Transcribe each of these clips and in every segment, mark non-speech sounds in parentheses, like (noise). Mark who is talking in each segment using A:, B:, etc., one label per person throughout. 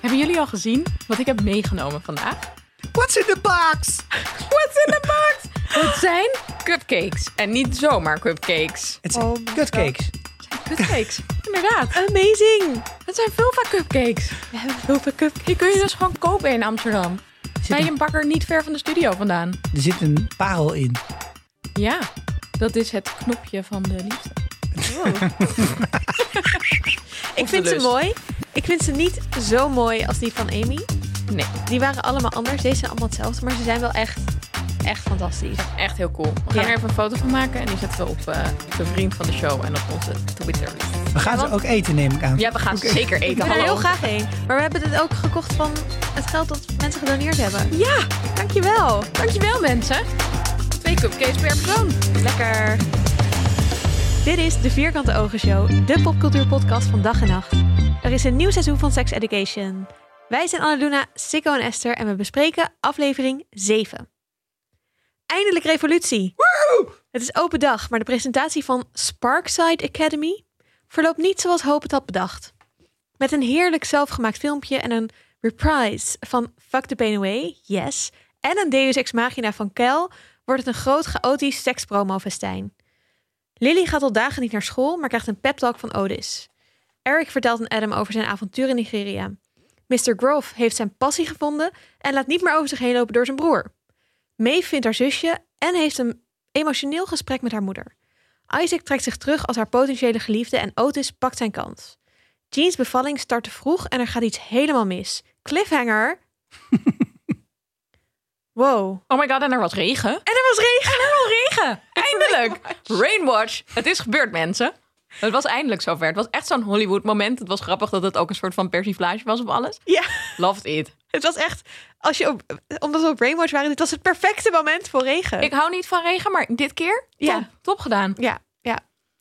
A: Hebben jullie al gezien wat ik heb meegenomen vandaag?
B: What's in the box?
A: What's in the box? (laughs) Het zijn cupcakes. En niet zomaar cupcakes.
B: Het zijn
C: Oh my
B: kutcakes.
A: Het zijn (laughs) cupcakes. Inderdaad.
C: Amazing!
A: Het zijn vulva cupcakes.
C: We hebben heel veel cupcakes.
A: Die kun je dus gewoon kopen in Amsterdam. Bij een bakker niet ver van de studio vandaan.
B: Er zit een parel in.
A: Ja, dat is het knopje van de liefde.
C: Ik vind ze
A: lust.
C: mooi. Ik vind ze niet zo mooi als die van Amy.
A: Nee,
C: Die waren allemaal anders. Deze zijn allemaal hetzelfde, maar ze zijn wel echt, echt fantastisch.
A: echt heel cool. We gaan
C: Ja.
A: er even een foto van maken en die zetten we op eh, de vriend van de show en op onze Twitter.
B: We gaan
C: want-
B: ze ook eten, neem ik aan.
A: Ja, we gaan ze zeker
C: Ik
A: eten.
C: ben er
A: hallo.
C: heel graag heen. Maar we hebben dit ook gekocht van het geld dat mensen gedoneerd hebben.
A: Ja,
C: Dankjewel.
A: dankjewel mensen. Twee cupcakes per persoon.
C: Lekker. Dit is de Vierkante Ogen Show, de popcultuurpodcast van dag en nacht. Er is een nieuw seizoen van Sex Education. Wij zijn Annaluna, Sikko en Esther en we bespreken aflevering 7. Eindelijk revolutie. Het is open dag, maar de presentatie van Sparkside Academy verloopt niet zoals Hoop het had bedacht. Met een heerlijk zelfgemaakt filmpje en een reprise van Fuck the Pain Away, yes, en een Deus Ex Machina van Kel, wordt het een groot chaotisch sekspromo-festijn. Lily gaat al dagen niet naar school, maar krijgt een pep talk van Otis. Eric vertelt aan Adam over zijn avontuur in Nigeria. Mr. Grove heeft zijn passie gevonden en laat niet meer over zich heen lopen door zijn broer. Maeve vindt haar zusje en heeft een emotioneel gesprek met haar moeder. Isaac trekt zich terug als haar potentiële geliefde en Otis pakt zijn kans. Jeans bevalling start te vroeg en er gaat iets helemaal mis. Cliffhanger. wow.
A: Oh my god, en er was regen.
C: En er was regen.
A: Regen, eindelijk. Rainwatch. Het is gebeurd mensen. Het was eindelijk zover. Het was echt zo'n Hollywood moment. Het was grappig dat het ook een soort van persiflage was op alles.
C: Ja.
A: Loved it.
C: Het was echt, als je op, omdat we op Brainwash waren, dit was het perfecte moment voor regen.
A: Ik hou niet van regen, maar dit keer, top,
C: Ja.
A: top gedaan.
C: Ja, ja.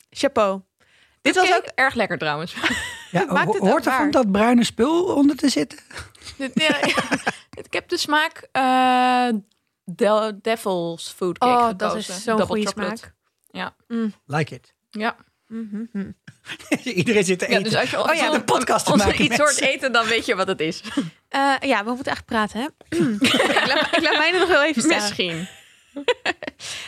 C: Chapeau. Dit
A: Dit
C: was
A: was
C: ook,
A: ook erg lekker trouwens.
B: Ja,
C: maakt
B: ho-
C: het ook
B: hoort er
C: waar.
B: van dat bruine spul onder te zitten?
A: (laughs) Dit- ja, ik heb de smaak eh, Del- Devil's Food Cake
C: oh, dat
A: gekozen.
C: is zo'n
A: Double
C: goede
A: chocolate.
C: smaak.
A: Ja.
B: Like it. (laughs)
A: Ja.
B: Iedereen zit te
A: ja,
B: eten.
A: dus als je
B: oh ja, de podcast te
A: als er
B: maken,
A: iets hoort
B: mensen.
A: eten, dan weet je wat het (laughs) is.
C: Eh, ja, we moeten echt praten, hè? (clears throat) ik, laat, ik laat mij er nog heel even staan.
A: Misschien.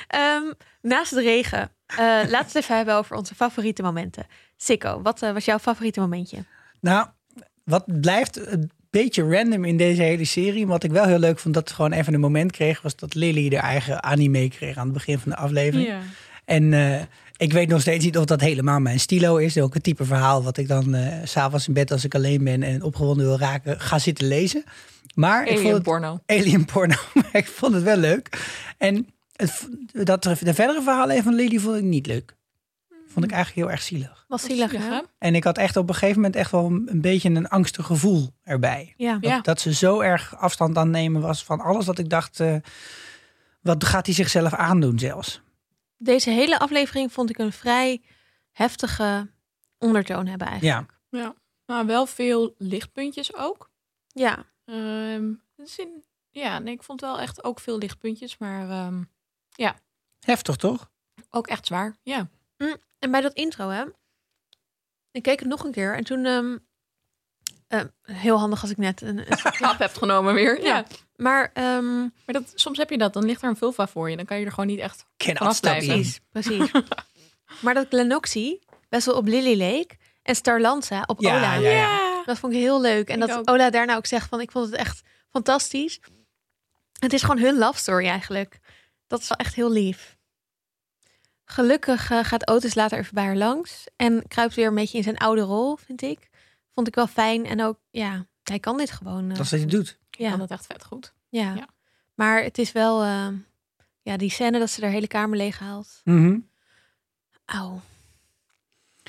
C: Ehm, naast de regen, eh, laten we het even hebben over onze favoriete momenten. Sikko, wat eh, was jouw favoriete momentje?
B: Nou, wat blijft een beetje random in deze hele serie. Wat ik wel heel leuk vond dat we gewoon even een moment kreeg, was dat Lily haar eigen anime kreeg aan het begin van de aflevering. En eh, ik weet nog steeds niet of dat helemaal mijn stilo is. Ook het type verhaal wat ik dan eh, s s'avonds in bed als ik alleen ben en opgewonden wil raken, ga zitten lezen. Maar ik vond
A: Alien
B: het
A: porno.
B: alien porno, (laughs) maar ik vond het wel leuk. En het, v- dat, er- de verdere verhalen van Lily vond ik niet leuk. Vond
A: Mm.
B: ik eigenlijk heel erg zielig.
C: Was zielig, hè?
A: Ja.
B: En ik had echt op een gegeven moment echt wel een, een beetje een angstig gevoel erbij.
C: Ja.
A: Ja.
B: Dat ze zo erg afstand aan het nemen was van alles dat ik dacht, eh, wat gaat hij zichzelf aandoen zelfs?
C: Deze hele aflevering vond ik een vrij heftige ondertoon hebben eigenlijk.
B: Ja,
A: Maar wel veel lichtpuntjes ook.
C: Ja.
A: Ehm, dus in- ja, nee, ik vond wel echt ook veel lichtpuntjes, maar ehm,
B: heftig toch?
A: ook echt zwaar. Ja.
C: En bij dat intro, hè? Ik keek het nog een keer en toen. ehm, ehm, heel handig als ik net. Een, een soort-
A: Hap hebt genomen weer.
C: (laughs) Ja.
A: ja.
C: maar ehm,
A: Maar dat, soms heb je dat, dan ligt er een vulva voor je. Dan kan je er gewoon niet echt...
B: Cannot
A: Vanaf
B: stop
A: blijven.
B: in. (laughs)
C: precies, precies. maar dat Glenoxie best wel op Lily leek en Starlanza op
B: Ja,
C: Ola.
B: ja, ja.
C: Dat vond ik heel leuk. En
A: Ik
C: dat
A: ook.
C: Ola daarna ook zegt van ik vond het echt fantastisch. Het is gewoon hun love story eigenlijk. Dat is wel echt heel lief. Gelukkig eh, gaat Otis later even bij haar langs en kruipt weer een beetje in zijn oude rol, vind ik. Vond ik wel fijn en ook, ja, hij kan dit gewoon. eh,
B: Dat is wat je doet.
A: Ja.
C: ja,
A: dat echt vet goed.
C: ja.
A: ja.
C: Maar het is wel, eh, ja, die scène dat ze haar hele kamer leeg haalt. Auw.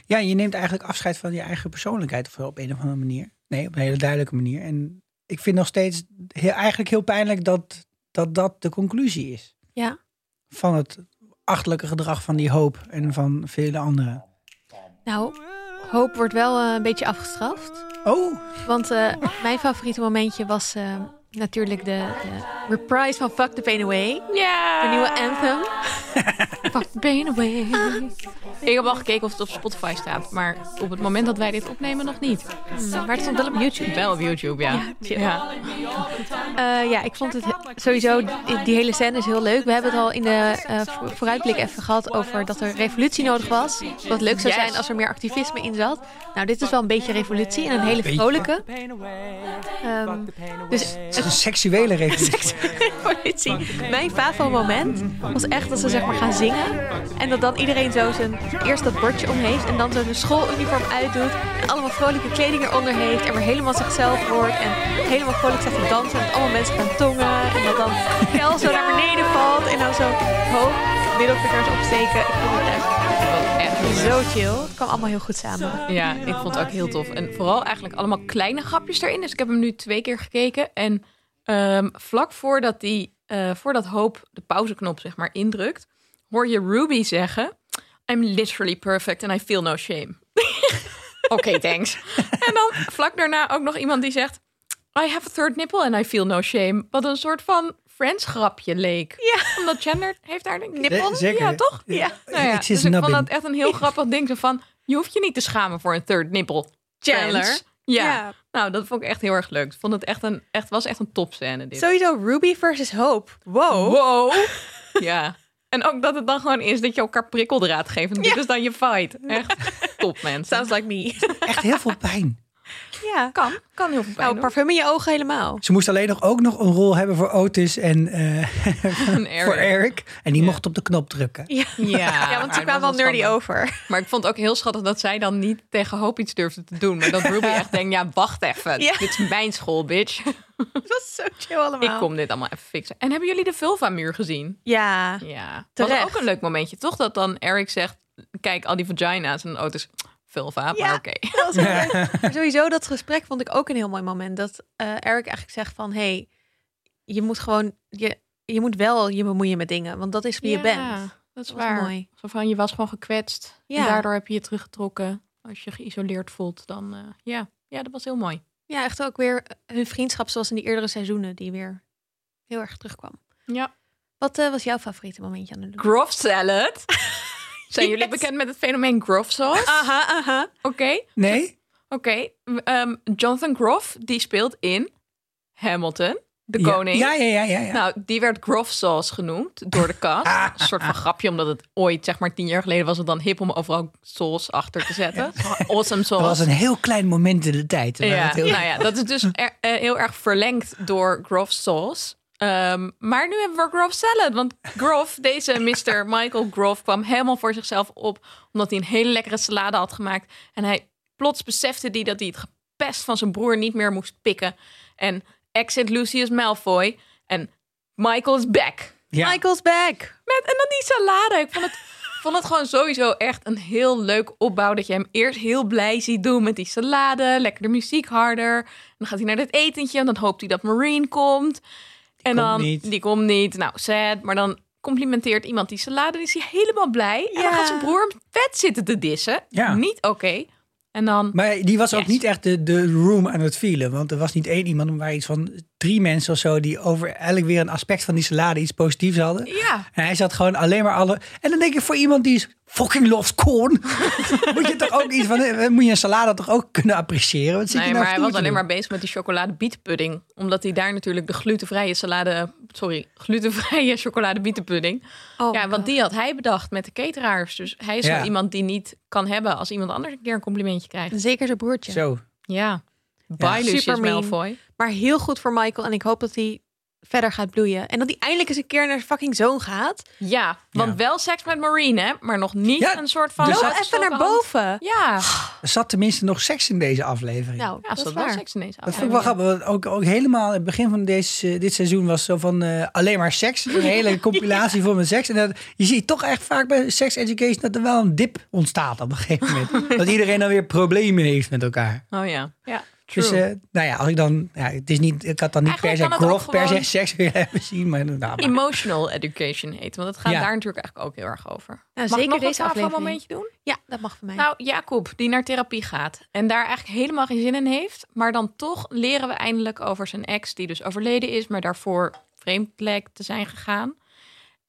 B: Ja, je neemt eigenlijk afscheid van je eigen persoonlijkheid of zo op een of andere manier. Nee, op een hele duidelijke manier. En ik vind nog steeds heel, eigenlijk heel pijnlijk dat, dat dat de conclusie is
C: Ja,
B: van het achterlijke gedrag van die hoop en van vele anderen.
C: nou, hoop wordt wel eh, een beetje afgestraft.
B: Oh,
C: Want eh, mijn favoriete momentje was eh, Natuurlijk de, de reprise van Fuck the Pain Away.
A: Ja.
C: De nieuwe anthem.
A: Fuck the pain away. Ik heb al gekeken of het op Spotify staat, maar op het moment dat wij dit opnemen nog niet.
C: Maar het stond wel op YouTube.
A: Wel op YouTube, ja.
C: chill.
A: Ja.
C: Eh, ja, ik vond het he- sowieso, die, die hele scène is heel leuk. We hebben het al in de eh, vo- vooruitblik even gehad over dat er revolutie nodig was. Wat leuk zou
A: Yes.
C: zijn als er meer activisme in zat. Nou, dit is wel een beetje revolutie en een hele
B: Beetje.
C: vrolijke. Ehm, dus
B: Het is een seksuele revolutie.
C: revolutie. Mijn favo-moment was echt dat ze zeg maar gaan zingen. En dat dan iedereen zo zijn eerst dat bordje om heeft. En dan zo zijn schooluniform uitdoet. En allemaal vrolijke kleding eronder heeft. En weer helemaal zichzelf wordt. En helemaal vrolijk staat te dansen. En dat allemaal mensen gaan tongen. En dat dan Kel zo naar beneden valt. En dan zo hoog middelvingers opsteken. Ik vond het echt
A: Echt.
C: zo chill. Het kwam allemaal heel goed samen.
A: Ja, ik vond het ook heel tof. En vooral eigenlijk allemaal kleine grapjes erin. Dus ik heb hem nu twee keer gekeken. En ehm, vlak voordat, die, eh, voordat Hoop de pauzeknop zeg maar indrukt, hoor je Ruby zeggen... I'm literally perfect and I feel no shame. (laughs) Oké, thanks. (laughs) en dan vlak daarna ook nog iemand die zegt... I have a third nipple and I feel no shame. Wat een soort van Friends grapje leek.
C: Ja.
A: Omdat gender heeft daar denk ik...
B: Nippel? Zeker.
A: Ja, toch?
C: Ja.
A: Nou ja,
B: It's
A: dus
B: his
A: ik vond
B: nubbin.
A: dat echt een heel grappig ding. Zo van, je hoeft je niet te schamen voor een third nipple.
C: Chandler.
A: Friends. Ja.
C: Ja.
A: Nou, dat vond ik echt heel erg leuk. Ik vond het echt een, echt, was echt een topscène dit.
C: Sowieso Ruby versus Hope. Wow. (laughs)
A: Wow. ja. En ook dat het dan gewoon is dat je elkaar prikkeldraad geeft. En dit is dan je fight. Echt top, mensen.
C: Sounds like me.
B: Echt heel veel pijn.
C: ja.
A: kan. Kan heel veel pijn
C: Nou,
A: doen.
C: parfum in je ogen helemaal.
B: Ze moest alleen nog ook nog een rol hebben voor Otis en eh,
C: (laughs)
A: Een area.
B: voor Eric. En die mocht op de knop drukken.
C: Ja,
A: Ja,
C: (laughs) ja
A: maar
C: want ze
A: het
C: kwamen wel
A: was
C: nerdy
A: schandalig.
C: over. (laughs)
A: Maar ik vond het ook heel schattig dat zij dan niet tegen Hoop iets durfde te doen. Maar dat
C: (laughs)
A: Ruby echt denkt, ja, wacht even.
C: Ja.
A: Dit is mijn school, bitch.
C: Dat was zo chill allemaal.
A: Ik kom dit allemaal even fixen. En hebben jullie de vulva-muur gezien?
C: Ja.
A: Ja, dat was
C: Terecht.
A: ook een leuk momentje, toch? Dat dan Eric zegt, kijk, al die vagina's en auto's. Vulva,
C: Ja.
A: maar oké.
C: Dat was heel leuk. Maar sowieso dat gesprek vond ik ook een heel mooi moment. Dat eh, Eric eigenlijk zegt van... hey, je moet gewoon... Je, je moet wel je bemoeien met dingen. Want dat is wie je bent.
A: dat is
C: was
A: waar.
C: mooi.
A: Zo van, je was gewoon gekwetst.
C: Ja.
A: En daardoor heb je je teruggetrokken. Als je geïsoleerd voelt, dan eh, ja. Ja, dat was heel mooi.
C: Ja, echt ook weer hun vriendschap zoals in die eerdere seizoenen. Die weer heel erg terugkwam.
A: Ja.
C: Wat eh, was jouw favoriete momentje aan de loop?
A: Grove (laughs) salad. Zijn jullie
C: Yes.
A: bekend met het fenomeen Grove sauce? (laughs)
C: Aha, aha.
A: Oké,
B: (laughs) Nee?
A: oké. Ehm, Jonathan Groff, die speelt in Hamilton, de koning.
B: Ja, ja, ja. ja, ja.
A: Nou, die werd Groff Sauce genoemd door de
B: (laughs)
A: cast. Een soort van grapje, omdat het ooit, zeg maar tien jaar geleden, was het dan hip om overal sauce achter te zetten. Awesome sauce.
B: dat was een heel klein moment in de tijd. waar
A: ja,
B: het heel- (laughs)
A: nou ja, dat is dus er- eh, heel erg verlengd door Groff Sauce. Ehm, maar nu hebben we Groff Salad. Want Groff, (laughs) deze Mr. Michael Groff, kwam helemaal voor zichzelf op. Omdat hij een hele lekkere salade had gemaakt. En hij plots besefte hij dat hij het gepest van zijn broer niet meer moest pikken. En exit Lucius Malfoy. En Michael is back.
B: Ja.
C: Michael's back.
A: Met, en dan die salade. Ik
B: (laughs)
A: vond het, vond het gewoon sowieso echt een heel leuk opbouw. Dat je hem eerst heel blij ziet doen met die salade. Lekker de muziek harder. En dan gaat hij naar dat etentje. En dan hoopt hij dat Marine komt. en
B: komt
A: dan,
B: niet.
A: die komt niet. Nou, sad. Maar dan complimenteert iemand die salade. Dan is hij helemaal blij. En dan
C: Ja.
A: gaat zijn broer hem vet zitten te dissen.
B: Ja.
A: Niet oké. En dan...
B: Maar die was ook
A: Yes.
B: niet echt de, de room aan het vielen. Want er was niet één iemand, maar iets van drie mensen of zo... die over eigenlijk weer een aspect van die salade iets positiefs hadden.
A: Ja.
B: En hij zat gewoon alleen maar alle... En dan denk ik, voor iemand die is fucking loves corn... (laughs) moet je toch ook iets van... eh, Moet je een salade toch ook kunnen appreciëren? Wat zit
A: Nee,
B: je nou
A: maar hij
B: stoer
A: was
B: te
A: alleen
B: doen?
A: maar bezig met die chocoladebietenpudding. Omdat hij daar natuurlijk de glutenvrije salade... Sorry, glutenvrije chocoladebietenpudding.
C: Oh
A: ja,
C: my
A: want
C: God.
A: die had hij bedacht met de cateraars. Dus hij is
B: Ja.
A: wel iemand die niet kan hebben als iemand anders een keer een complimentje krijgt.
C: Zeker zijn broertje.
B: Zo.
A: Ja. Bye Lucius
C: Dus- Super mean.
A: Malfoy.
C: Maar heel goed voor Michael. En ik hoop dat hij verder gaat bloeien. En dat hij eindelijk eens een keer naar zijn fucking zoon gaat.
A: Ja, want
B: Ja.
A: wel seks met Marine, hè? maar nog niet
B: Ja,
A: een soort van...
B: dus
C: Wel
B: dat-
A: uitgestoken
C: even naar
A: hand.
C: boven.
A: Ja,
B: Er zat tenminste nog seks in deze aflevering.
C: Nou,
A: ja ze had wel seks in deze
B: Dat vond ik wel
A: aflevering.
B: grappig. want Ook, ook helemaal in het begin van deze, eh, dit seizoen was zo van eh, alleen maar seks.
A: (laughs)
B: Een hele compilatie vol met seks. En dat, je ziet toch echt vaak bij sex education dat er wel
A: (laughs)
B: een dip ontstaat op een gegeven moment. dat iedereen dan weer problemen heeft met elkaar.
A: Oh ja. ja.
B: Dus eh, nou ja, als ik dan, ja, het is niet, ik had dan niet per se
A: Eigenlijk kan het
B: grof,
A: ook
B: per se
A: gewoon-
B: seks (laughs) willen hebben zien, maar nou, maar-
A: Emotional education heet. Want het gaat
B: Ja.
A: daar natuurlijk eigenlijk ook heel erg over.
C: Nou,
A: Mag ik
C: zeker
A: nog
C: deze
A: een
C: aflevering.
A: momentje doen?
C: Ja, dat mag voor mij.
A: Nou, Jacob, die naar therapie gaat en daar eigenlijk helemaal geen zin in heeft. Maar dan toch leren we eindelijk over zijn ex, die dus overleden is, maar daarvoor vreemdplek te zijn gegaan.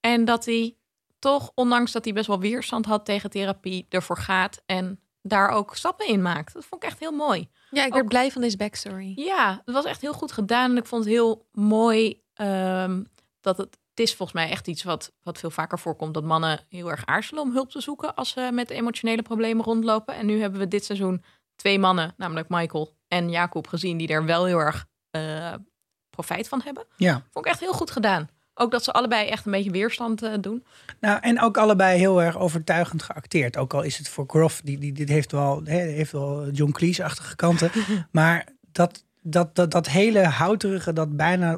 A: En dat hij toch, ondanks dat hij best wel weerstand had tegen therapie, ervoor gaat en daar ook stappen in maakt. Dat vond ik echt heel mooi.
C: ja, ik werd
A: ook-
C: blij van deze backstory.
A: Ja, het was echt heel goed gedaan. En ik vond het heel mooi ehm, dat het, het is volgens mij echt iets wat, wat veel vaker voorkomt. Dat mannen heel erg aarzelen om hulp te zoeken als ze met emotionele problemen rondlopen. En nu hebben we dit seizoen twee mannen, namelijk Michael en Jacob, gezien die daar wel heel erg eh, profijt van hebben.
B: ja.
A: Vond ik echt heel goed gedaan. Ook dat ze allebei echt een beetje weerstand eh, doen.
B: Nou, en ook allebei heel erg overtuigend geacteerd. Ook al is het voor Groff, die, die, dit heeft wel, hè, heeft wel John Cleese-achtige kanten. maar dat, dat, dat, dat hele houterige, dat bijna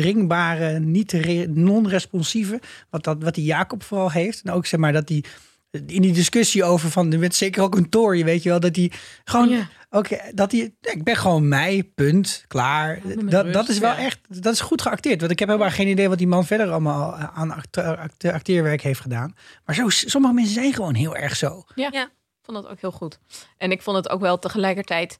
B: ondoordringbare, niet te re- non-responsieve, wat, dat, wat die Jacob vooral heeft. En ook zeg maar dat die in die discussie over van, er werd zeker ook een tory, weet je wel, dat die gewoon,
A: Ja.
B: oké, dat die, ja, ik ben gewoon mij, punt, klaar.
A: me met
B: dat,
A: rust,
B: dat is wel
A: ja.
B: echt, dat is goed geacteerd, want ik heb helemaal geen idee wat die man verder allemaal aan acte- acte- acteerwerk heeft gedaan. Maar zo, sommige mensen zijn gewoon heel erg zo.
A: Ik vond dat ook heel goed. En ik vond het ook wel tegelijkertijd.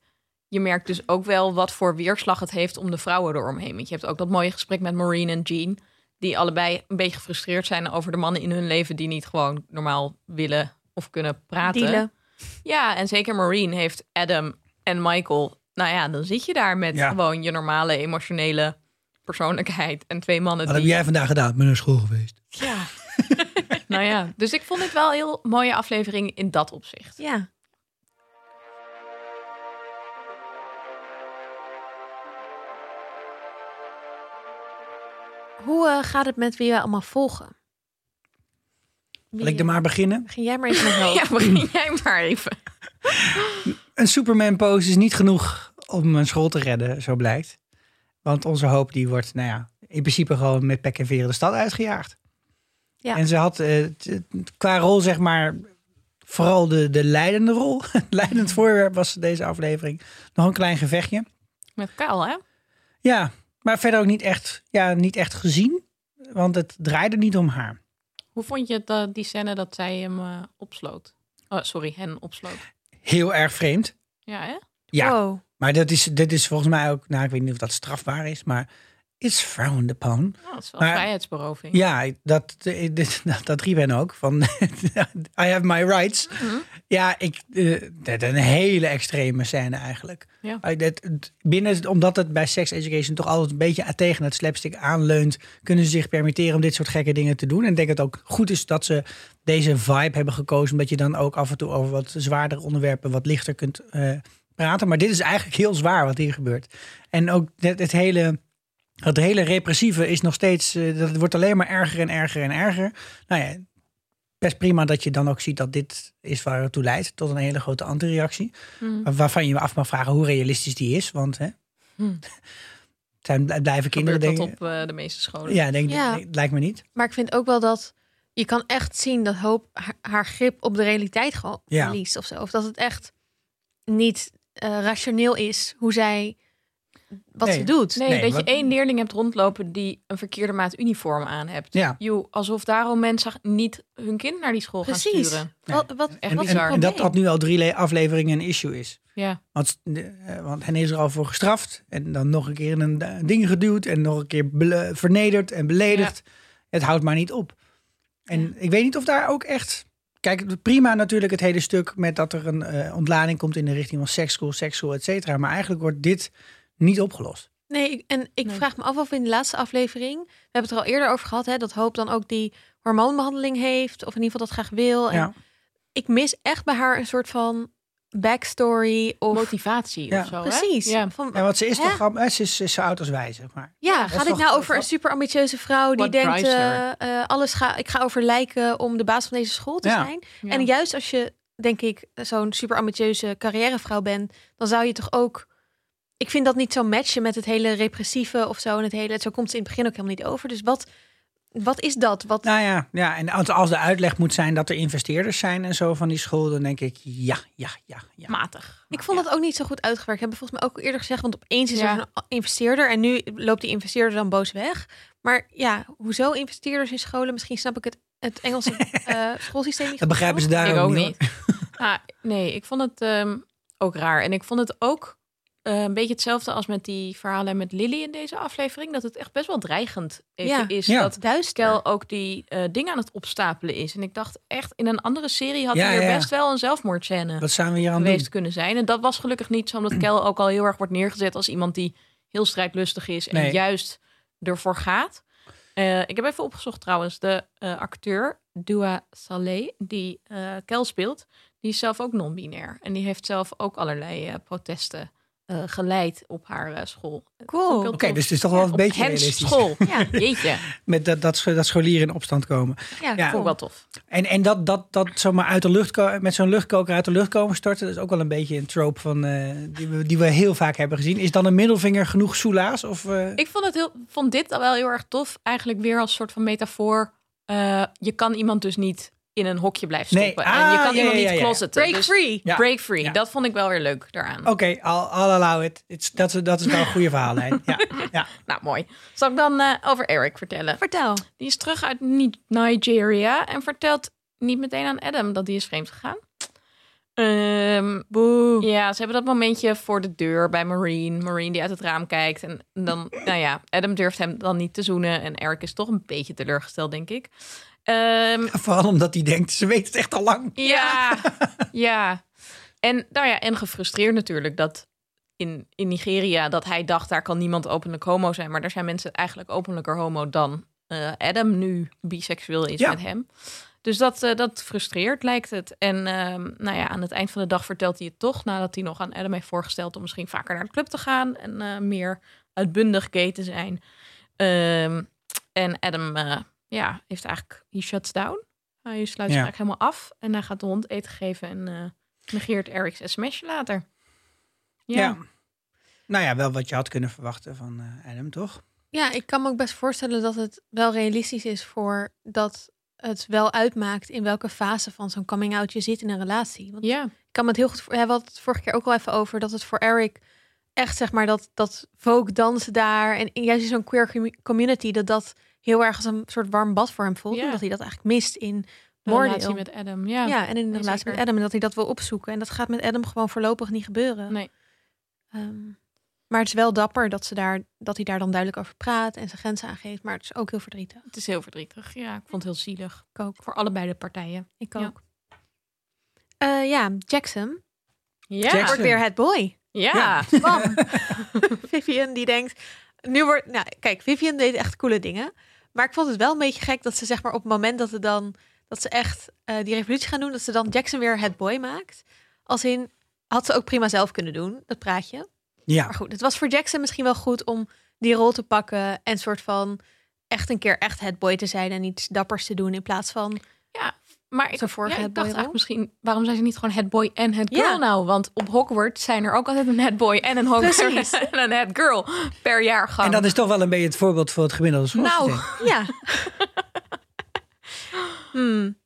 A: Je merkt dus ook wel wat voor weerslag het heeft om de vrouwen eromheen. Want je hebt ook dat mooie gesprek met Maureen en Jean. Die allebei een beetje gefrustreerd zijn over de mannen in hun leven die niet gewoon normaal willen of kunnen praten.
C: Dealen.
A: Ja, en zeker Maureen heeft Adam en Michael. Nou ja, dan zit je daar met
B: Ja.
A: gewoon je normale emotionele persoonlijkheid en twee mannen
B: Wat
A: die.
B: heb jij vandaag gedaan? Ik ben naar school geweest.
A: Ja. nou ja, dus ik vond het wel een heel mooie aflevering in dat opzicht.
C: Ja. Hoe eh, gaat het met wie wij allemaal volgen?
B: Wil
C: Wie-
B: ik er maar beginnen?
C: Begin jij maar even
A: (laughs)
C: met hoofd.
A: Ja, begin jij maar even.
B: een Superman-pose is niet genoeg om een school te redden, zo blijkt. Want onze hoop die wordt, nou ja, in principe gewoon met pek en veren de stad uitgejaagd.
C: Ja.
B: En ze had eh, t- t- qua rol, zeg maar, vooral de, de leidende rol. (laughs) Het leidend voorwerp was deze aflevering. Nog een klein gevechtje.
A: Met Kaal, hè?
B: Ja, maar verder ook niet echt, ja, niet echt gezien. Want het draaide niet om haar.
A: Hoe vond je het, eh, die scène dat zij hem eh, opsloot? Oh, sorry, hen opsloot.
B: Heel erg vreemd.
A: Ja, hè?
B: Ja.
C: Wow.
B: Maar dat is, dit is volgens mij ook, nou, ik weet niet of dat strafbaar is, maar it's frowned upon.
A: Oh, dat is wel
B: Maar-
A: vrijheidsberoving.
B: Ja, dat, dat, dat riep hen ook. Van, (laughs) I have my rights.
A: Mhm.
B: Ja, ik, eh, dat een hele extreme scène eigenlijk.
A: Ja.
B: Maar dat- het- binnen, omdat het bij sex education toch altijd een beetje tegen het slapstick aanleunt... kunnen ze zich permitteren om dit soort gekke dingen te doen. En ik denk dat het ook goed is dat ze deze vibe hebben gekozen... omdat je dan ook af en toe over wat zwaardere onderwerpen wat lichter kunt eh, praten. Maar dit is eigenlijk heel zwaar wat hier gebeurt. En ook het, het hele... Dat hele repressieve is nog steeds, eh, dat het wordt alleen maar erger en erger en erger. Nou ja, best prima dat je dan ook ziet dat dit is waar het toe leidt, tot een hele grote antireactie.
A: Mhm.
B: Wa- Waarvan je je af mag vragen hoe realistisch die is, want hè,
A: Hm.
B: het zijn, bl- blijven kinderen
A: Gebeurt dat
B: denken.
A: op eh, de meeste scholen?
B: Ja, denk,
C: Ja.
B: nee, lijkt me niet.
C: Maar ik vind ook wel dat je kan echt zien dat hoop haar, haar grip op de realiteit gewoon
B: Ja.
C: verliest of zo. Of dat het echt niet eh, rationeel is hoe zij wat
B: Nee.
C: ze doet.
A: Nee,
B: Nee,
A: dat
B: wat-
A: je één leerling hebt rondlopen die een verkeerde maat uniform aan hebt.
B: Ja.
A: Joe, alsof daarom mensen niet hun kind naar die school gaan
C: Precies.
A: sturen.
B: Nee.
C: Wat, wat,
A: Echt
B: En,
C: wat
A: bizar.
C: een
B: en, en dat
C: probleem.
B: dat nu al drie le- afleveringen een issue is.
A: Ja,
B: Want, eh, want hen is er al voor gestraft en dan nog een keer in een eh, ding geduwd en nog een keer bele- vernederd en beledigd. Het houdt maar niet op. En ik weet niet of daar ook echt. Kijk, prima natuurlijk het hele stuk met dat er een eh, ontlading komt in de richting van seksschool, seksschool, et cetera. Maar eigenlijk wordt dit niet opgelost.
C: Nee, ik- en ik
A: Nee.
C: vraag me af of in de laatste aflevering, we hebben het er al eerder over gehad, hè, dat Hoop dan ook die hormoonbehandeling heeft, of in ieder geval dat graag wil. Oh, En
B: Ja.
C: ik mis echt bij haar een soort van backstory of
A: motivatie
B: Ja.
A: of zo. hè?
C: precies.
A: Ja.
C: Van,
B: Ja, want ze is
C: Hè?
B: toch al- eh, ze is, ze is zo oud als wij, zeg maar.
C: Ja,
B: is
C: gaat dit
B: toch-
C: nou over
B: wat-
C: een super ambitieuze vrouw die
A: What
C: denkt:
A: drives her?
C: eh, eh, alles ga, ik ga over lijken om de baas van deze school te
B: Ja.
C: zijn.
A: Ja.
C: En juist als je, denk ik, zo'n super ambitieuze carrièrevrouw bent, dan zou je toch ook. Ik vind dat niet zo matchen met het hele repressieve of zo. En het hele, zo komt ze in het begin ook helemaal niet over. Dus wat, Wat is dat? Wat...
B: Nou ja, ja, en als- als de uitleg moet zijn dat er investeerders zijn en zo van die school, dan denk ik ja, ja, ja, ja.
A: Matig.
C: Ik vond dat ook niet zo goed uitgewerkt. Hebben we volgens mij ook eerder gezegd. Want opeens is
A: Ja.
C: er een investeerder. En nu loopt die investeerder dan boos weg. Maar ja, hoezo investeerders in scholen? Misschien snap ik het, het (laughs) Engelse eh, schoolsysteem niet
B: dat
C: goed
B: begrijpen ze
C: genoeg.
B: daar
A: ik ook
B: niet.
A: niet. Ah, nee, ik vond het ehm, ook raar. En ik vond het ook eh, een beetje hetzelfde als met die verhalen met Lily in deze aflevering. Dat het echt best wel dreigend even
C: Ja.
A: is.
B: Ja.
A: Dat
C: Duister.
A: Stel ook die eh dingen aan het opstapelen is. En ik dacht echt, in een andere serie had
B: Ja,
A: hij er
B: ja, ja.
A: best wel een zelfmoordscène
B: hoor. Wat zijn we hier aan het
A: geweest
B: doen?
A: kunnen zijn. En dat was gelukkig niet zo, omdat Kel ook al heel erg wordt neergezet als iemand die heel strijdlustig is en
B: Nee.
A: juist ervoor gaat. Eh, ik heb even opgezocht trouwens, de eh, acteur Dua Saleh, die eh Kel speelt, die is zelf ook non-binair. En die heeft zelf ook allerlei eh, protesten eh, geleid op haar eh, school.
C: Cool.
A: Heel
B: Oké,
A: tof.
B: dus het is toch wel
A: Ja,
B: een
A: op
B: beetje
A: Hens
B: realistisch. (laughs)
A: school.
C: Ja,
A: Jeetje,
B: Met dat, dat, scho- dat scholieren in opstand komen. Ja.
C: ja,
A: vond ik
C: cool.
A: wel tof.
B: En, en dat, dat, dat zomaar uit de lucht, ko- met zo'n luchtkoker uit de lucht komen storten, dat is ook wel een beetje een trope van, eh, die, we, die we heel vaak hebben gezien. Is dan een middelvinger genoeg soelaas? Of, eh,
A: Ik vond, het heel, vond dit al wel heel erg tof. Eigenlijk weer als soort van metafoor. Eh, je kan iemand dus niet in een hokje blijven
B: Nee,
A: stoppen.
B: ah,
A: en je
B: ja,
A: kan iemand
B: ja,
A: niet
B: ja, ja.
A: closeten.
C: Break
A: Dus
C: free.
B: Ja.
A: Break free.
B: Ja. Oh.
A: Dat vond ik wel weer leuk daaraan.
B: Oké, al I'll, allow it. It's- Dat is- dat is wel een goede verhaallijn. Ja, ja. (laughs)
A: Nou, mooi. Zal ik dan eh, over Eric vertellen?
C: Vertel.
A: Die is terug uit Ni- Nigeria en vertelt niet meteen aan Adam dat die is vreemd gegaan. Ehm,
C: Boe.
A: Ja, ze hebben dat momentje voor de deur bij Marine. Marine die uit het raam kijkt. En dan, nou ja, Adam durft hem dan niet te zoenen. En Eric is toch een beetje teleurgesteld, denk ik. Ehm,
B: Vooral omdat hij denkt, ze weet het echt al lang.
A: ja, ja. En, nou ja, en gefrustreerd natuurlijk dat in, in Nigeria... dat hij dacht, daar kan niemand openlijk homo zijn. Maar daar zijn mensen eigenlijk openlijker homo dan eh, Adam nu biseksueel is
B: Ja.
A: met hem. Dus dat, eh, dat frustreert, lijkt het. En ehm, nou ja, aan het eind van de dag vertelt hij het toch... nadat hij nog aan Adam heeft voorgesteld... om misschien vaker naar de club te gaan... en eh, meer uitbundig gay te zijn. Ehm, en Adam eh, ja, heeft eigenlijk... He shuts down. Hij sluit zich
B: Ja.
A: eigenlijk helemaal af. En hij gaat de hond eten geven... en eh, negeert Eric's sms'je later. Ja.
B: Nou ja, wel wat je had kunnen verwachten van eh, Adam, toch?
C: Ja, ik kan me ook best voorstellen dat het wel realistisch is voor dat het wel uitmaakt in welke fase van zo'n coming out je zit in een relatie. Want
A: ja.
C: ik kan me het heel goed voor. We hadden het vorige keer ook al even over dat het voor Eric echt zeg maar dat dat folk dansen daar en, en juist in zo'n queer commu- community dat dat heel erg als een soort warm bad voor hem voelt
A: Ja.
C: en dat hij dat eigenlijk mist in
A: De
C: Mordeel.
A: relatie met Adam,
C: Ja,
A: ja.
C: en in de
A: nee,
C: relatie
A: zeker.
C: met Adam en dat hij dat wil opzoeken en dat gaat met Adam gewoon voorlopig niet gebeuren.
A: Nee.
C: Ehm, maar het is wel dapper dat, ze daar, dat hij daar dan duidelijk over praat en zijn grenzen aangeeft. Maar het is ook heel verdrietig.
A: Het is heel verdrietig. Ja, ik vond het heel zielig. Ik ook. Voor allebei de partijen.
C: Ik
A: Ja.
C: ook. Ja, ja Jackson
A: Ja.
B: Jackson.
C: wordt weer het boy.
A: Ja.
C: Bam. Vivian die denkt... Nu wordt, nou, kijk, Vivian deed echt coole dingen. Maar ik vond het wel een beetje gek dat ze zeg maar op het moment dat, ze dan, dat ze echt eh, die revolutie gaan doen... dat ze dan Jackson weer het boy maakt. Als in, had ze ook prima zelf kunnen doen, dat praatje.
B: Ja.
C: Maar goed, het was voor Jackson misschien wel goed om die rol te pakken en soort van echt een keer echt het boy te zijn en iets dappers te doen in plaats van
A: Maar ik,
C: Zo'n vorige
A: ja, ik
C: het
A: dacht
C: boy
A: eigenlijk
C: rol.
A: misschien... waarom zijn ze niet gewoon het boy en het girl
C: Ja.
A: nou? Want op Hogwarts zijn er ook altijd een het boy en een Hogwarts
C: Precies.
A: (laughs) en een het girl per jaargang.
B: En dat is toch wel een beetje het voorbeeld voor het gemiddelde schoolsysteem.
A: Nou.
C: ja. Hmm.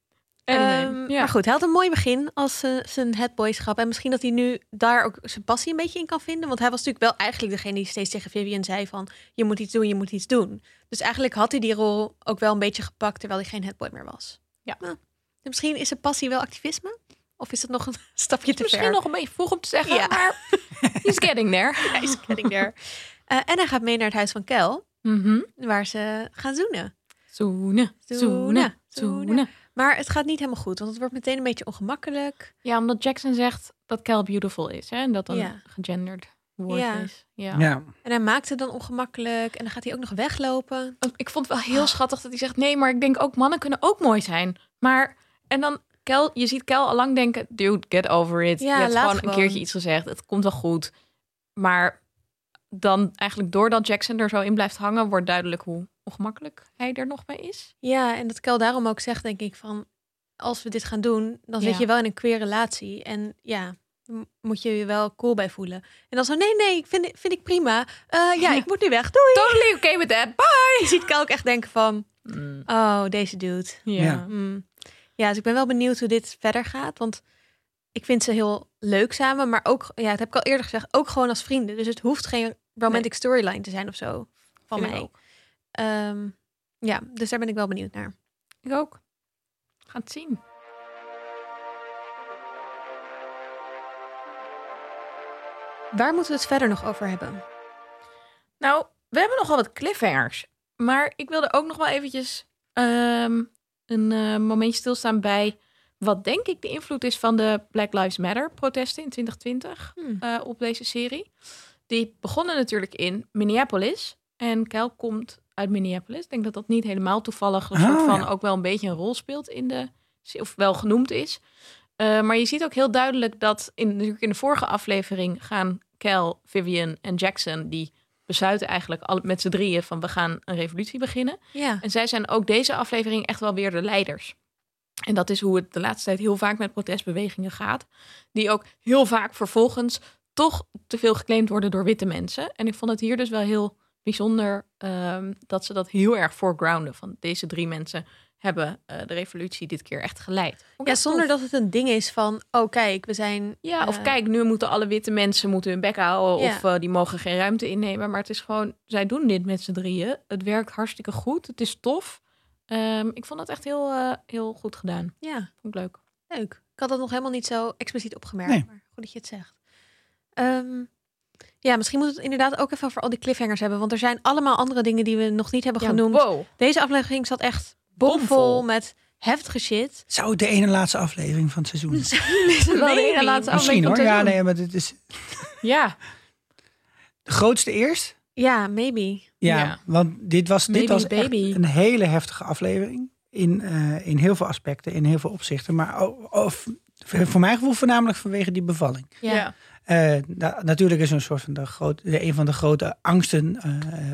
A: Anyway,
C: Ehm,
A: ja.
C: Maar goed, hij had een mooi begin als eh, zijn headboyschap. En misschien dat hij nu daar ook zijn passie een beetje in kan vinden. Want hij was natuurlijk wel eigenlijk degene die steeds tegen Vivian zei van... je moet iets doen, je moet iets doen. Dus eigenlijk had hij die rol ook wel een beetje gepakt... terwijl hij geen headboy meer was.
A: Ja.
C: Nou, misschien is zijn passie wel activisme? Of is dat nog een (laughs) stapje te
A: Misschien
C: ver?
A: nog een beetje vroeg om te zeggen,
C: Ja. (laughs)
A: maar he's getting there.
C: Hij is getting (laughs) there. Eh, en hij gaat mee naar het huis van Kel,
A: Mhm.
C: waar ze gaan zoenen.
A: Zoenen, zoenen,
C: Zoenen,
A: zoenen.
C: Maar het gaat niet helemaal goed, want het wordt meteen een beetje ongemakkelijk.
A: Ja, omdat Jackson zegt dat Cal beautiful is. Hè? En dat dan
C: Ja.
A: gegenderd woord
C: Ja.
A: is. Ja.
B: Ja.
C: En hij maakt het dan ongemakkelijk en dan gaat hij ook nog weglopen.
A: Ik vond het wel heel schattig dat hij zegt: nee, maar ik denk ook mannen kunnen ook mooi zijn. Maar en dan Kel, je ziet Kel al lang denken: dude, get over it.
C: Ja,
A: je hebt
C: laat
A: gewoon,
C: gewoon.
A: een keertje iets gezegd. Het komt wel goed. Maar dan eigenlijk doordat Jackson er zo in blijft hangen, wordt duidelijk hoe ongemakkelijk hij er nog mee is.
C: Ja, en dat Kel daarom ook zegt, denk ik, van als we dit gaan doen, dan zit
A: Ja.
C: je wel in een queer relatie. En ja, m- moet je je wel cool bij voelen. En dan zo, nee, nee, ik (laughs) vind, vind ik prima. Eh, ja, ik moet nu weg. Doei!
A: Totally okay with that. Bye.
C: Je ziet Kel ook echt denken van,
A: Mm.
C: Oh, deze dude.
A: Ja.
B: Ja.
C: Mm. Ja, dus ik ben wel benieuwd hoe dit verder gaat. Want ik vind ze heel leuk samen. Maar ook, ja, dat heb ik al eerder gezegd, ook gewoon als vrienden. Dus het hoeft geen romantic storyline te zijn of zo van
A: Vind ik
C: mij.
A: ook.
C: Ehm, ja, dus daar ben ik wel benieuwd naar.
A: Ik ook. We gaan het zien.
C: Waar moeten we het verder nog over hebben?
A: Nou, we hebben nogal wat cliffhangers. Maar ik wilde ook nog wel eventjes ehm, een eh, momentje stilstaan bij... wat denk ik de invloed is van de Black Lives Matter protesten in 2020.
B: Hmm.
A: eh, op deze serie. Die begonnen natuurlijk in Minneapolis. En Kel komt uit Minneapolis. Ik denk dat dat niet helemaal toevallig een
B: Ah,
A: soort van
B: ja.
A: ook wel een beetje een rol speelt in de se- of wel genoemd is. Eh, maar je ziet ook heel duidelijk dat in, natuurlijk in de vorige aflevering gaan Kel, Vivian en Jackson die besluiten eigenlijk alle, met z'n drieën van we gaan een revolutie beginnen.
C: Ja.
A: En zij zijn ook deze aflevering echt wel weer de leiders. En dat is hoe het de laatste tijd heel vaak met protestbewegingen gaat. Die ook heel vaak vervolgens toch te veel geclaimd worden door witte mensen. En ik vond het hier dus wel heel bijzonder ehm, dat ze dat heel erg foregrounden. Van deze drie mensen hebben eh, de revolutie dit keer echt geleid. Vond ik
C: ja,
A: echt
C: zonder
A: tof.
C: dat het een ding is van, oh kijk, we zijn...
A: Ja, of
C: eh,
A: kijk, nu moeten alle witte mensen moeten hun bek houden.
C: Ja.
A: Of eh, die mogen geen ruimte innemen. Maar het is gewoon, zij doen dit met z'n drieën. Het werkt hartstikke goed. Het is tof. Ehm, ik vond het echt heel, eh, heel goed gedaan.
C: Ja,
A: Vond ik leuk.
C: Leuk. Ik had dat nog helemaal niet zo expliciet opgemerkt,
B: Nee.
C: maar goed dat je het zegt. Ehm, ja, misschien moeten we het inderdaad ook even over al die cliffhangers hebben. Want er zijn allemaal andere dingen die we nog niet hebben
A: Ja,
C: genoemd.
A: wow.
C: Deze aflevering zat echt bomvol
A: Bomvol.
C: met heftige
A: (laughs)
C: shit.
B: Zou het de ene laatste aflevering van het seizoen zijn?
A: Is het wel de
C: Maybe.
A: ene laatste
B: Misschien
A: aflevering van
B: hoor.
A: het seizoen?
B: Ja, nee, maar dit is
A: Ja,
B: de grootste eerst.
C: Ja, maybe.
B: Ja,
A: Ja.
B: want dit was, dit
A: Baby
B: was
A: is
B: echt
A: baby.
B: een hele heftige aflevering. In, eh, in heel veel aspecten, in heel veel opzichten. Maar o- of, voor voor mijn gevoel voornamelijk vanwege die bevalling.
C: Ja.
A: Ja.
B: Eh, na- natuurlijk is een soort van de groot, de- een van de grote angsten eh,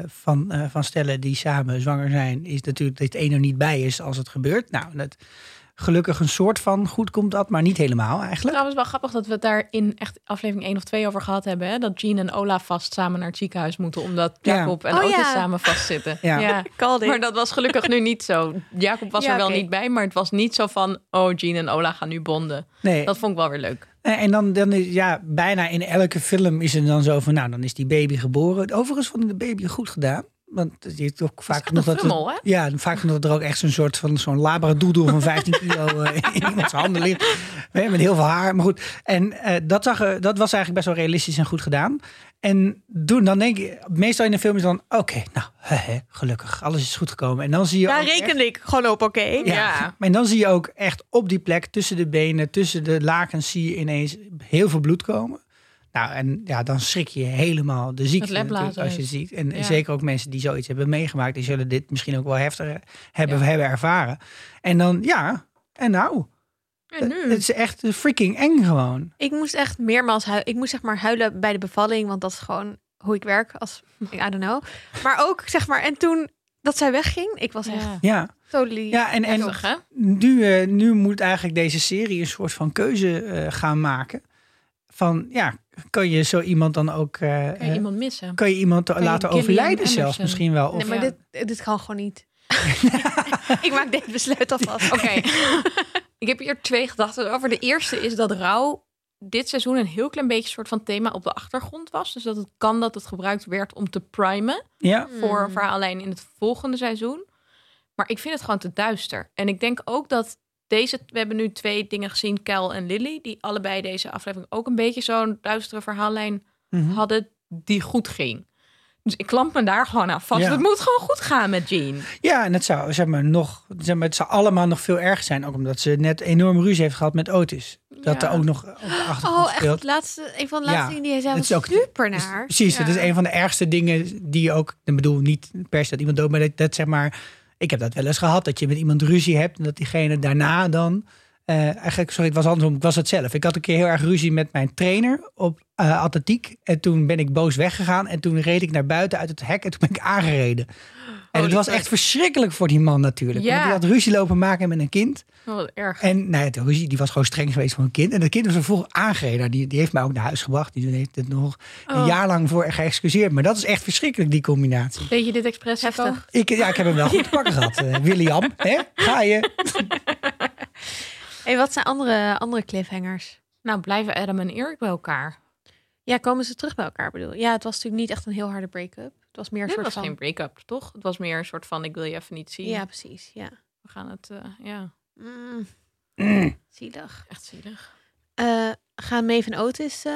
B: van, eh, van stellen die samen zwanger zijn, is natuurlijk dat het een er niet bij is als het gebeurt. Nou, dat, gelukkig een soort van goed komt dat, maar niet helemaal eigenlijk.
A: Trouwens wel grappig dat we het daar in echt aflevering 1 of 2 over gehad hebben. Hè? Dat Jean en Ola vast samen naar het ziekenhuis moeten. Omdat
B: Ja.
A: Jacob en
C: Oh,
A: Otis
C: ja.
A: samen vastzitten.
B: Ja.
C: Called it.
A: Maar dat was gelukkig nu niet zo. Jacob was
C: Ja,
A: er wel
C: oké.
A: niet bij, maar het was niet zo van... oh, Jean en Ola gaan nu bonden.
B: Nee.
A: Dat vond ik wel weer leuk.
B: Eh, En en dan, dan is, ja, bijna in elke film is er dan zo van, nou, dan is die baby geboren. Overigens vond ik de baby goed gedaan. Want je hebt ook vaak
A: echt
B: genoeg
A: een
B: dat...
A: frummel, hè?
B: het, ja, vaak genoeg dat er ook echt zo'n soort van zo'n labradoedoe van 15
A: (laughs)
B: kilo eh, in iemands handen ligt. Nee, Met heel veel haar, maar goed. En eh, dat, zag, er- dat was eigenlijk best wel realistisch en goed gedaan. En doen, dan denk je, meestal in de film is dan, oké, nou, hè, hè, gelukkig, alles is goed gekomen. En dan zie je
C: Daar
B: ook echt-
C: rekende ik gewoon op, oké.
A: Ja.
B: maar dan zie je ook echt op die plek, tussen de benen, tussen de lakens, zie je ineens heel veel bloed komen. Nou, en ja, dan schrik je helemaal de ziekte
A: Het leplazen
B: natuurlijk als je het ziet. En
A: Ja.
B: zeker ook mensen die zoiets hebben meegemaakt, die zullen dit misschien ook wel heftiger hebben, hebben ervaren. En dan, ja, en nou,
A: En nu?
B: het is echt freaking eng gewoon.
C: Ik moest echt meermaals huilen. Ik moest zeg maar huilen bij de bevalling, want dat is gewoon hoe ik werk (laughs) als, I don't know. Maar ook zeg maar, en toen dat zij wegging, ik was echt
A: Ja.
B: Ja,
C: totally...
B: ja en, en
A: Heftig, hè?
B: nu, eh, nu moet eigenlijk deze serie een soort van keuze eh, gaan maken. Van, ja, kan je zo iemand dan ook... eh,
A: Kan je
B: eh,
A: iemand missen?
B: kan je iemand
A: je
B: laten
A: Gillian
B: overlijden
A: Anderson?
B: zelfs misschien wel. Of,
C: Nee, maar
A: Ja.
C: dit, dit kan gewoon (laughs) niet. ik maak dit besluit (laughs) alvast.
A: Oké. ik heb hier twee gedachten over. De eerste is dat rouw dit seizoen een heel klein beetje een soort van thema op de achtergrond was. Dus dat het kan dat het gebruikt werd om te primen
B: ja,
A: voor verhaallijn in het volgende seizoen. Maar ik vind het gewoon te duister. En ik denk ook dat deze... We hebben nu twee dingen gezien, Kel en Lily... die allebei deze aflevering ook een beetje zo'n duistere verhaallijn hadden... die goed ging. Dus ik klamp me daar gewoon aan vast.
B: Ja.
A: Het moet gewoon goed gaan met Jean.
B: ja, en het zou, zeg maar, nog, zeg maar, het zou allemaal nog veel erger zijn. Ook omdat ze net enorm ruzie heeft gehad met Otis. Dat
A: Ja.
B: er ook nog op de achtergrond
C: Oh, echt
B: speelt.
C: het laatste, een van de
B: Ja,
C: laatste dingen die hij zei
B: het
C: was
B: is ook-
C: super
B: Dus-
C: naar.
B: precies, dat
A: Ja.
B: is een van de ergste dingen die je ook... Ik bedoel, niet per se dat iemand dood, maar dat, dat, zeg maar... Ik heb dat wel eens gehad, dat je met iemand ruzie hebt... en dat diegene daarna dan... eh, eigenlijk, sorry, het was andersom. Ik was het zelf. Ik had een keer heel erg ruzie met mijn trainer op eh, atletiek. En toen ben ik boos weggegaan. En toen reed ik naar buiten uit het hek. En toen ben ik aangereden. En het was echt verschrikkelijk voor die man natuurlijk.
A: Oh, Ja.
B: Want die had ruzie lopen maken met een kind.
A: Oh, Wat erg.
B: En nou ja, de ruzie die was gewoon streng geweest voor een kind. En dat kind was er vroeg aangereden. Nou, Die, die heeft mij ook naar huis gebracht. Die heeft het nog een
A: Oh.
B: jaar lang voor geëxcuseerd. Maar dat is echt verschrikkelijk, die combinatie.
A: Weet je dit expres
C: Heftig.
A: Heftig.
B: Ik, ja, ik heb hem
A: (laughs)
B: wel goed te pakken gehad. eh, William, hè? ga je?
C: Hey, wat zijn andere, andere cliffhangers?
A: Nou, blijven Adam en Erik bij elkaar?
C: Ja, komen ze terug bij elkaar bedoel? ik? Ja, het was natuurlijk niet echt een heel harde break-up. Het was meer een
A: Dit
C: soort
A: was
C: van...
A: geen break-up, toch? Het was meer een soort van, ik wil je even niet zien.
C: Ja, precies. Ja.
A: We gaan het, eh, ja,
C: Mm. Zielig.
A: echt zielig.
C: Eh, gaan Maeve en Otis eh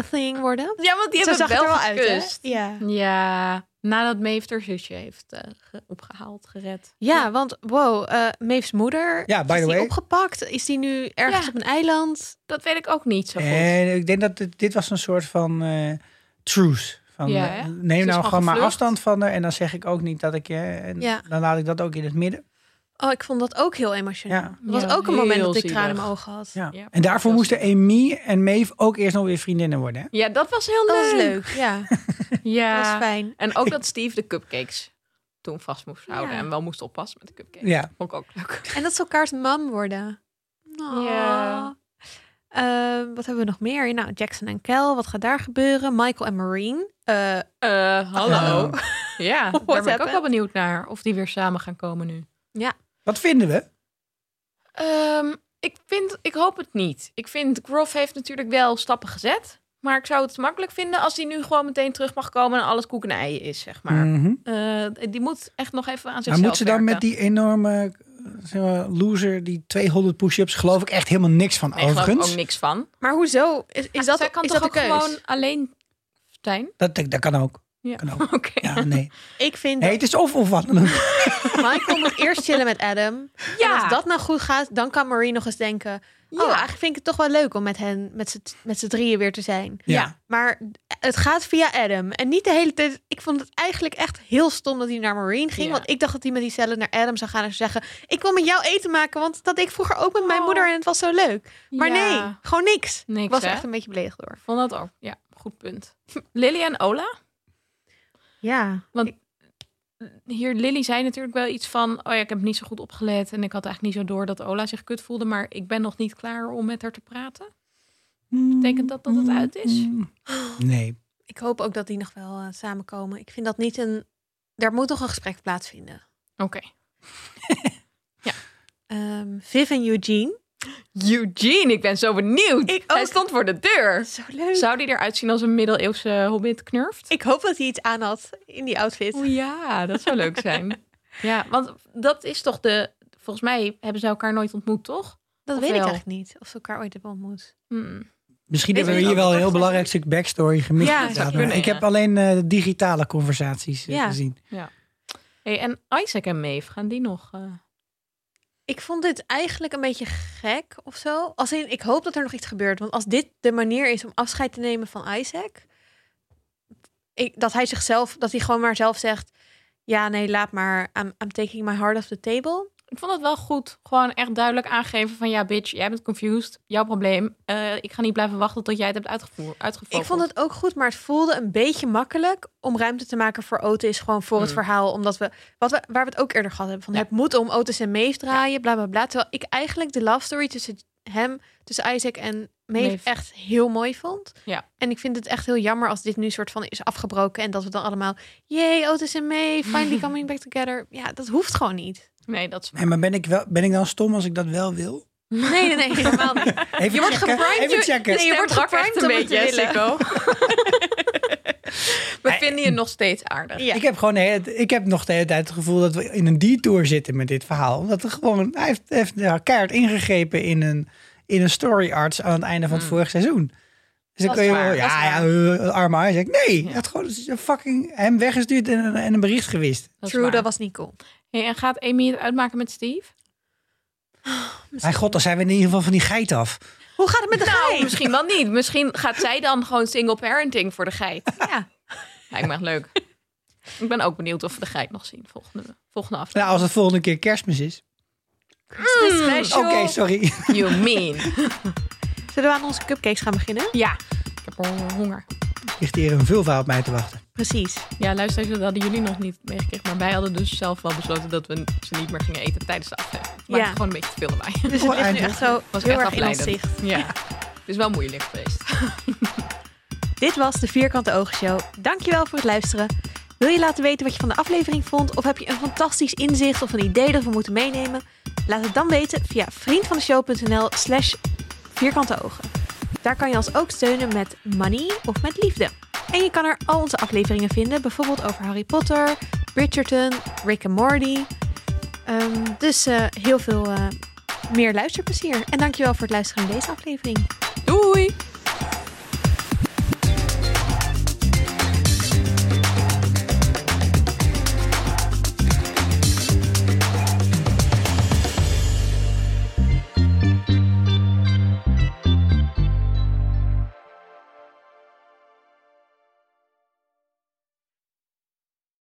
C: a thing worden?
A: Ja, want die
C: Zo
A: hebben
C: zag
A: wel
C: het er wel uit, hè?
A: gekust.
C: Ja.
A: Ja, nadat Maeve haar zusje heeft eh, ge- opgehaald, gered.
C: Ja, want wow, eh Maeve's moeder
B: Ja, by
C: is
B: the
C: die
B: way.
C: opgepakt? Is die nu ergens
A: Ja.
C: op een eiland?
A: Dat weet ik ook niet zo goed.
B: En ik denk dat dit, dit was een soort van eh truce. Van,
A: Ja,
B: eh,
A: hè?
B: neem
A: is
B: nou
A: gewoon
B: gewoon maar
A: gevlucht.
B: afstand van haar. En dan zeg ik ook niet dat ik je... En
C: Ja.
B: dan laat ik dat ook in het midden.
C: Oh, ik vond dat ook heel emotioneel.
B: Ja.
C: Dat was
A: Ja,
C: ook een moment
A: heel
C: dat ik tranen in
A: zielig.
C: mijn ogen had.
B: Ja.
A: Ja,
B: en daarvoor
A: dat
B: moesten Amy en Maeve ook eerst nog weer vriendinnen worden. Hè?
A: Ja, dat was heel
C: Dat
A: leuk.
C: was leuk, ja. (laughs) Dat was
A: Ja.
C: fijn.
A: en ook dat Steve de cupcakes toen vast moest houden
C: Ja.
A: en wel moest oppassen met de cupcakes.
B: Ja.
A: Vond ik ook leuk.
C: En dat ze elkaars mam worden.
A: Ja.
C: Eh, wat hebben we nog meer? Nou, Jackson en Kel, wat gaat daar gebeuren? Michael en Marine. Eh,
A: Eh, hallo.
B: Eh,
A: (laughs) Ja, daar
C: What
A: ben ik ook
C: happened?
A: wel benieuwd naar. Of die weer samen gaan komen nu.
B: wat vinden we?
A: Ehm, ik, vind, ik hoop het niet. Ik vind, Groff heeft natuurlijk wel stappen gezet. Maar ik zou het makkelijk vinden als hij nu gewoon meteen terug mag komen en alles koek en ei is, zeg maar.
B: Mhm.
A: Eh, die moet echt nog even aan
B: Maar
A: zichzelf
B: moet ze dan
A: werken.
B: met die enorme zeg maar, loser, die 200 push-ups, geloof ik echt helemaal niks van
A: Nee, geloof ik
B: overigens.
A: ook niks van.
C: maar hoezo? Is, is dat,
A: Ah, Zij kan
C: is
A: toch
C: dat
A: ook
C: de keus?
A: gewoon alleen zijn?
B: Dat, dat kan ook.
A: Ja.
B: Kan ook.
A: (laughs) Oké. (laughs)
B: Ja, nee.
C: Ik vind
B: nee, het is of of wat. dan ook.
C: dat Michael moet eerst chillen met Adam.
A: Ja.
C: En als dat nou goed gaat, dan kan Marie nog eens denken...
A: Ja.
C: Oh, eigenlijk vind ik het toch wel leuk om met hen, met z'n- met z'n drieën weer te zijn.
B: Ja.
C: Maar het gaat via Adam. En niet de hele tijd. Ik vond het eigenlijk echt heel stom dat hij naar Marine ging.
A: Ja.
C: Want ik dacht dat hij met die cellen naar Adam zou gaan en zou zeggen: Ik wil met jou eten maken. Want dat deed ik vroeger ook met mijn
A: Oh.
C: moeder en het was zo leuk. Maar
A: Ja.
C: nee, gewoon niks.
A: Niks,
C: ik was er
A: hè?
C: echt een beetje beledigd door.
A: oh, Ik vond dat ook. Ja, goed punt. (laughs) Lily en Ola.
C: Ja.
A: Want hier, Lily zei natuurlijk wel iets van... oh ja, ik heb niet zo goed opgelet... en ik had eigenlijk niet zo door dat Ola zich kut voelde... maar ik ben nog niet klaar om met haar te praten. (laughs) Betekent dat dat het uit is?
B: Mm. Nee.
C: Ik hoop ook dat die nog wel eh, samenkomen. Ik vind dat niet een. Daar moet toch een gesprek plaatsvinden.
A: Oké.
C: Ehm Viv en Eugene.
A: Eugene, ik ben zo benieuwd.
C: Ik
A: Hij
C: ook.
A: stond voor de deur.
C: Zo leuk.
A: Zou die eruit zien als een middeleeuwse hobbit knurft?
C: Ik hoop dat hij iets aan had in die outfit.
A: O Oh ja, dat zou leuk zijn. (laughs) ja, want dat is toch de... Volgens mij hebben ze elkaar nooit ontmoet, toch?
C: Dat
A: Of
C: weet ik
A: wel?
C: eigenlijk niet. Of ze elkaar ooit hebben ontmoet.
A: Hmm.
B: Misschien
C: Weet
B: hebben we
C: je
B: hier
C: niet?
B: wel een heel belangrijk stuk backstory gemist.
C: Ja,
B: inderdaad.
A: zou kunnen,
B: ik
A: ja.
B: heb alleen eh, digitale conversaties eh,
C: Ja.
B: gezien.
A: Hey, en Isaac en Maeve, gaan die nog... eh,
C: Ik vond dit eigenlijk een beetje gek of zo. Als in, ik hoop dat er nog iets gebeurt. Want als dit de manier is om afscheid te nemen van Isaac. Ik, dat hij zichzelf, dat hij gewoon maar zelf zegt. Ja, nee, laat maar. I'm, I'm taking my heart off the table.
A: Ik vond het wel goed. Gewoon echt duidelijk aangeven van ja, bitch, jij bent confused. Jouw probleem. Eh, ik ga niet blijven wachten tot jij het hebt uitgevoerd.
C: Ik vond het ook goed, maar het voelde een beetje makkelijk om ruimte te maken voor Otis. Gewoon voor het
A: Mm.
C: verhaal. Omdat we, wat we, waar we het ook eerder gehad hebben. Van
A: Ja.
C: het moet om Otis en Maeve draaien, bla bla bla. Terwijl ik eigenlijk de love story tussen hem, tussen Isaac en Maeve,
A: Maeve.
C: echt heel mooi vond.
A: Ja.
C: En ik vind het echt heel jammer als dit nu soort van is afgebroken. En dat we dan allemaal, yay, Otis en Maeve,
A: (laughs)
C: finally coming back together. Ja, dat hoeft gewoon niet.
A: Nee, dat is...
B: Nee, maar ben ik, wel, ben ik dan stom als ik dat
A: (laughs)
B: wel wil?
C: Nee, nee, nee, helemaal niet.
B: Even
C: Je wordt
B: checken.
C: geprimed,
B: Even
C: je-
B: checken.
C: Nee, je wordt
A: Stem brak echt
C: geprimed om het te willen.
A: Sikko.
C: (laughs)
A: We vinden je nog steeds aardig.
C: Ja.
B: Ik, heb gewoon de hele- ik heb nog de hele tijd het gevoel dat we in een detour zitten met dit verhaal. Omdat er gewoon, hij heeft, heeft ja, keihard ingegrepen in een, in een story arts aan het einde van het vorige seizoen.
A: Mm.
B: Dus dan
A: Dat
B: kun je
A: is
B: wel,
A: waar, dat
B: ja,
A: is
B: ja eh, arme Isaac. Nee, hij had gewoon een fucking hem weggestuurd en, een- en een bericht gewist.
A: Dat is
C: True,
A: waar.
C: dat was niet cool.
A: Hey, en gaat Amy het uitmaken met Steve?
B: Mijn god, dan zijn we in ieder geval van die geit af.
C: Hoe gaat het met de
A: Nou,
C: geit?
A: misschien wel niet. Misschien gaat zij dan gewoon single parenting voor de geit.
C: Ja.
A: Lijkt me echt leuk. Ik ben ook benieuwd of we de geit nog zien volgende, volgende
B: Nou,
A: aflevering.
B: als het volgende keer kerstmis is.
C: Special.
A: Mm.
B: Oké, sorry. (laughs)
A: You mean.
C: Zullen we aan onze cupcakes gaan beginnen?
A: Ja, ik heb honger.
B: Ligt hier een vulva op mij te wachten.
C: Precies.
A: Ja, luisteraars, dat hadden jullie nog niet meegekregen. Maar wij hadden dus zelf wel besloten dat we ze niet meer gingen eten tijdens de aflevering. Maar
C: Ja.
A: gewoon een beetje te veel erbij.
C: Dus het ligt nu
B: eindelijk.
C: echt zo
A: Was
C: heel
A: echt
C: erg in ons
A: afleidend.
C: zicht.
A: Ja. (laughs) Het is wel moeilijk geweest.
C: Dit was de Vierkante Oogshow. Dankjewel voor het luisteren. Wil je laten weten wat je van de aflevering vond? Of heb je een fantastisch inzicht of een idee dat we moeten meenemen? Laat het dan weten via vriendvandeshow.nl slash vierkante ogen. Daar kan je ons ook steunen met money of met liefde. En je kan er al onze afleveringen vinden, bijvoorbeeld over Harry Potter, Bridgerton, Rick and Morty. Ehm, dus eh, heel veel eh, meer luisterplezier. En dankjewel voor het luisteren in deze aflevering.
A: Doei!